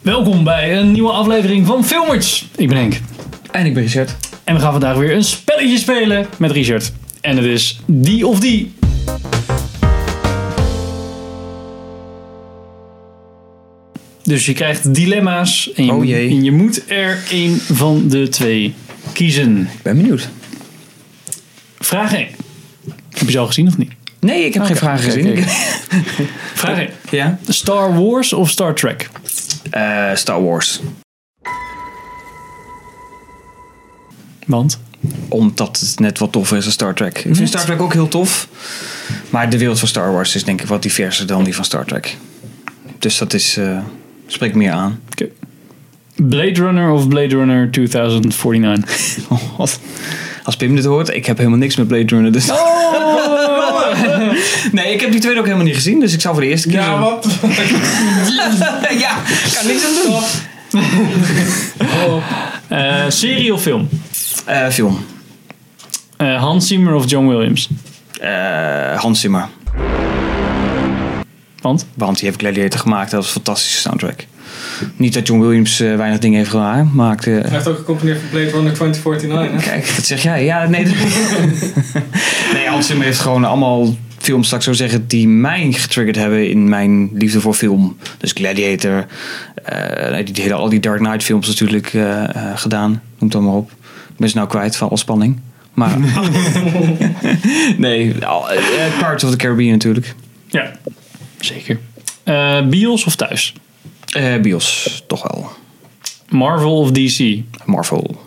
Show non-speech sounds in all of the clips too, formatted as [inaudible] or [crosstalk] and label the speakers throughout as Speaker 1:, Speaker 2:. Speaker 1: Welkom bij een nieuwe aflevering van Filmers. Ik ben Henk.
Speaker 2: En ik ben Richard.
Speaker 1: En we gaan vandaag weer een spelletje spelen met Richard. En het is die of die. Dus je krijgt dilemma's en je,
Speaker 2: Oh jee.
Speaker 1: en je moet er één van de twee kiezen.
Speaker 2: Ik ben benieuwd.
Speaker 1: Vraag 1. Heb je ze al gezien of niet?
Speaker 2: Nee, ik heb geen vragen gezien.
Speaker 1: oké,
Speaker 2: [laughs]
Speaker 1: Vraag 1.
Speaker 2: Ja?
Speaker 1: Star Wars of Star Trek?
Speaker 2: Eh, Star Wars.
Speaker 1: Want?
Speaker 2: Omdat het net wat toffer is dan Star Trek. Ik vind Star Trek ook heel tof. Maar de wereld van Star Wars is denk ik wat diverser dan die van Star Trek. Dus dat is, eh, spreekt meer aan.
Speaker 1: Oké. Blade Runner of Blade Runner 2049?
Speaker 2: Oh, wat? Als Pim dit hoort, ik heb helemaal niks met Blade Runner. Dus... [laughs] nee, ik heb die tweede ook helemaal niet gezien. Dus ik zal voor de eerste keer...
Speaker 3: Ja, wat?
Speaker 2: [laughs] ja, ik kan niks aan doen.
Speaker 1: Eh, serie of film?
Speaker 2: Eh, film.
Speaker 1: Eh, Hans Zimmer of John Williams?
Speaker 2: Eh, Hans Zimmer.
Speaker 1: Want?
Speaker 2: Want die heeft Gladiator gemaakt. Dat was een fantastische soundtrack. Niet dat John Williams eh, weinig dingen heeft gemaakt. eh,
Speaker 3: Hij heeft ook gecomponeerd voor Blade Runner 2049. Hè?
Speaker 2: kijk, wat zeg jij? Ja, nee. [laughs] nee, Hans Zimmer heeft gewoon allemaal films, zou ik zo zeggen, die mij getriggerd hebben in mijn liefde voor film. Dus Gladiator, eh, die hele, al die Dark Knight films natuurlijk eh, eh, gedaan. Noem het allemaal op. Ik ben ze nou kwijt van al spanning. Maar [laughs] nee, al- eh, Pirates of the Caribbean natuurlijk.
Speaker 1: Ja. Zeker. Eh, Bios of thuis?
Speaker 2: Eh, Bios, toch wel.
Speaker 1: Marvel of DC?
Speaker 2: Marvel.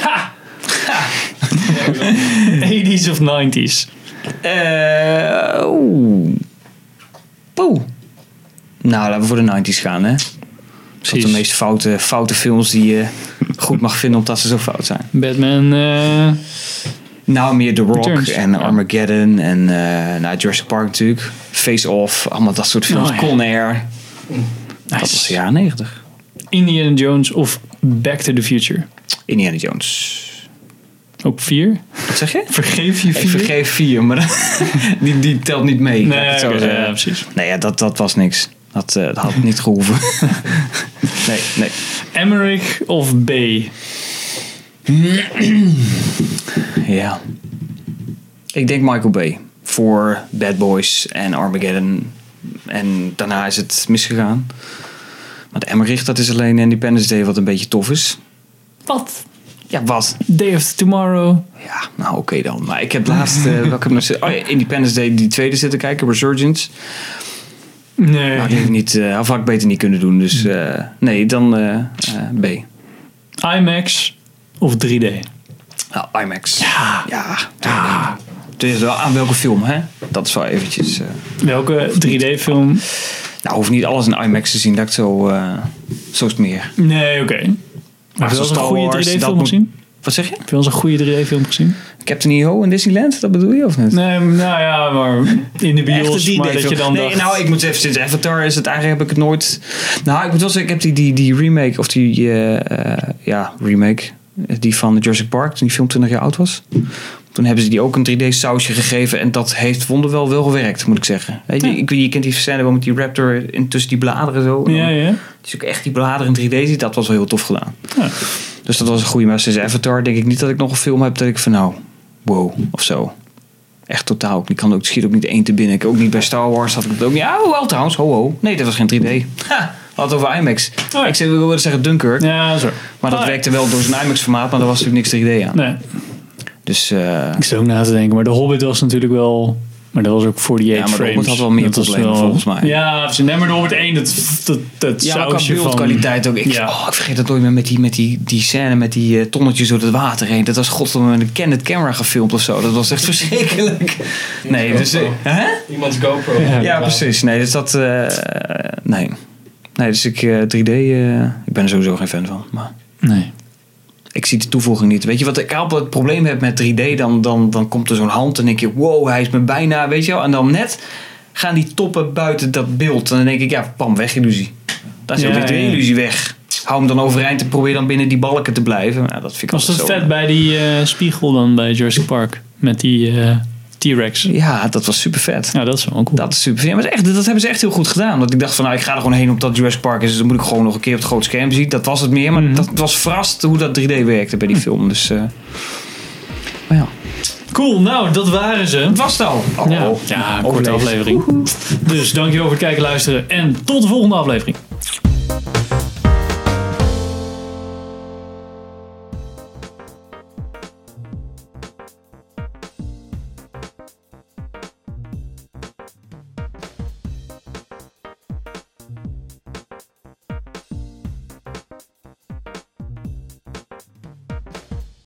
Speaker 1: Ha! [laughs] 80s of 90s?
Speaker 2: Eh. oeh. Poeh. Nou, laten we voor de 90s gaan, hè? Dat
Speaker 1: Precies.
Speaker 2: de meest foute, foute films die je goed mag vinden omdat ze zo fout zijn.
Speaker 1: Batman. eh,
Speaker 2: Nou, meer The Rock
Speaker 1: Returns,
Speaker 2: en
Speaker 1: ja.
Speaker 2: Armageddon en eh nou, Jurassic Park natuurlijk. Face Off, allemaal dat soort films.
Speaker 1: Oh, ja.
Speaker 2: Con Air. Dat was de jaren 90.
Speaker 1: Indiana Jones of Back to the Future?
Speaker 2: Indiana Jones.
Speaker 1: Ook vier?
Speaker 2: Wat zeg je?
Speaker 1: Vergeef je vier?
Speaker 2: Ik vergeef vier, maar [laughs] die, die telt niet mee. laat
Speaker 1: Nee,
Speaker 2: ik het zo
Speaker 1: oké,
Speaker 2: zeggen.
Speaker 1: ja, precies.
Speaker 2: Nee, ja, dat, dat was niks. Dat, eh, dat had niet gehoeven.
Speaker 1: [laughs]
Speaker 2: nee, nee.
Speaker 1: Emmerich of B?
Speaker 2: Ja. Ik denk Michael Bay. Voor Bad Boys en Armageddon. En daarna is het misgegaan. Want Emmerich, dat is alleen Independence Day wat een beetje tof is.
Speaker 1: Wat?
Speaker 2: Ja, wat?
Speaker 1: Day After Tomorrow?
Speaker 2: Ja, nou oké dan. Maar ik heb laatst... eh, welke heb ik nog zitten? Oh ja, Independence Day, die tweede zitten kijken. Resurgence.
Speaker 1: Nee.
Speaker 2: Maar ik heb niet, eh, of had ik beter niet kunnen doen. Dus eh, nee, dan eh, eh, B.
Speaker 1: IMAX of 3D?
Speaker 2: Nou, IMAX. Ja. Ja. Het is wel aan welke film, hè? Dat is wel eventjes... eh,
Speaker 1: Welke 3D-film?
Speaker 2: nou, hoef niet alles in IMAX te zien. Dat ik het zo... eh, zo is het meer.
Speaker 1: Nee, oké. Maar
Speaker 2: zoals
Speaker 1: heb je wel eens een
Speaker 2: Star
Speaker 1: goede
Speaker 2: Wars,
Speaker 1: 3D-film
Speaker 2: dat moet-
Speaker 1: gezien?
Speaker 2: Wat zeg je?
Speaker 1: Heb je wel eens een goede 3D-film gezien?
Speaker 2: Captain EO in Disneyland? Dat bedoel je of niet?
Speaker 1: Nee, nou ja, maar in de bios.
Speaker 2: Echte
Speaker 1: maar
Speaker 2: 3D
Speaker 1: dat je
Speaker 2: film.
Speaker 1: dan
Speaker 2: nee,
Speaker 1: dacht...
Speaker 2: nou, ik moet even sinds Avatar is het eigenlijk heb ik het nooit. Nou, ik moet wel zeggen, ik heb die, die, die remake of die eh, eh, ja remake eh, die van Jurassic Park toen die film 20 jaar oud was. Toen hebben ze die ook een 3D sausje gegeven en dat heeft wonderwel wel gewerkt, moet ik zeggen. Weet je, ik, je kent die scène wel met die raptor in tussen die bladeren zo. En
Speaker 1: ja,
Speaker 2: dan-
Speaker 1: ja.
Speaker 2: Dus ook echt die bladeren in 3D ziet, dat was wel heel tof gedaan.
Speaker 1: Ja.
Speaker 2: Dus dat was een goede. Maar sinds Avatar denk ik niet dat ik nog een film heb dat ik van nou, wow, of zo. Echt totaal. ook niet. Ik kan ook, schiet ook niet één te binnen. Ik ook niet bij Star Wars had ik het ook niet. Ja, wel trouwens, ho ho. Nee, dat was geen 3D. Ha, had over IMAX.
Speaker 1: Oh ja.
Speaker 2: Ik zei, ik wilde zeggen Dunkirk.
Speaker 1: Ja, zo.
Speaker 2: Maar dat
Speaker 1: Ah,
Speaker 2: werkte wel door zijn IMAX formaat, maar daar was natuurlijk niks 3D aan.
Speaker 1: Nee,
Speaker 2: Dus eh,
Speaker 1: ik zit ook na te denken. Maar The Hobbit was natuurlijk wel... Maar dat was ook 48
Speaker 2: Ja, maar The
Speaker 1: frames.
Speaker 2: Hobbit had wel meer
Speaker 1: Dat was
Speaker 2: problemen, volgens mij.
Speaker 1: Ja, precies. nee, maar The Hobbit 1, dat, dat, dat
Speaker 2: ja, maar qua
Speaker 1: sausje van...
Speaker 2: beeldkwaliteit ook. Ik,
Speaker 1: Ja.
Speaker 2: oh, ik vergeet dat nooit meer met die, met die, die scène met die eh, tonnetjes door het water heen. Dat was godverdomme met een Canon camera gefilmd of zo. Dat was echt [laughs] verschrikkelijk. Nee, dus... eh, Hè?
Speaker 3: Iemands GoPro.
Speaker 2: Ja, precies. Nee, dus dat. eh, nee. Nee, dus ik eh, 3D. eh, ik ben er sowieso geen fan van. Maar
Speaker 1: Nee.
Speaker 2: ik zie de toevoeging niet. Weet je wat ik altijd het probleem heb met 3D? Dan, dan, dan komt er zo'n hand en denk je: wow, hij is me bijna. Weet je wel. En dan net gaan die toppen buiten dat beeld. En dan denk ik: ja, pam, weg illusie. Daar is
Speaker 1: Ja,
Speaker 2: ook weer de
Speaker 1: ja.
Speaker 2: illusie weg. Hou hem dan overeind en probeer dan binnen die balken te blijven. Nou, dat vind ik
Speaker 1: Was dat
Speaker 2: altijd zo.
Speaker 1: vet bij die eh, spiegel dan bij Jurassic Park? Met die eh, T-Rex.
Speaker 2: Ja, dat was super vet.
Speaker 1: Ja, dat is wel cool.
Speaker 2: Dat is super vet. Maar het is echt, dat hebben ze echt heel goed gedaan. Want ik dacht van, nou, ik ga er gewoon heen op dat Jurassic Park is. Dus dan moet ik gewoon nog een keer op het grote scherm zien. Dat was het meer.
Speaker 1: Mhm.
Speaker 2: Maar dat was verrast hoe dat 3D werkte bij die film. Dus, eh, maar ja.
Speaker 1: Cool, nou, dat waren ze.
Speaker 2: Het was het al. Oh,
Speaker 1: Ja, ja korte
Speaker 2: overleefd.
Speaker 1: aflevering. Dus dankjewel voor het kijken, luisteren en tot de volgende aflevering.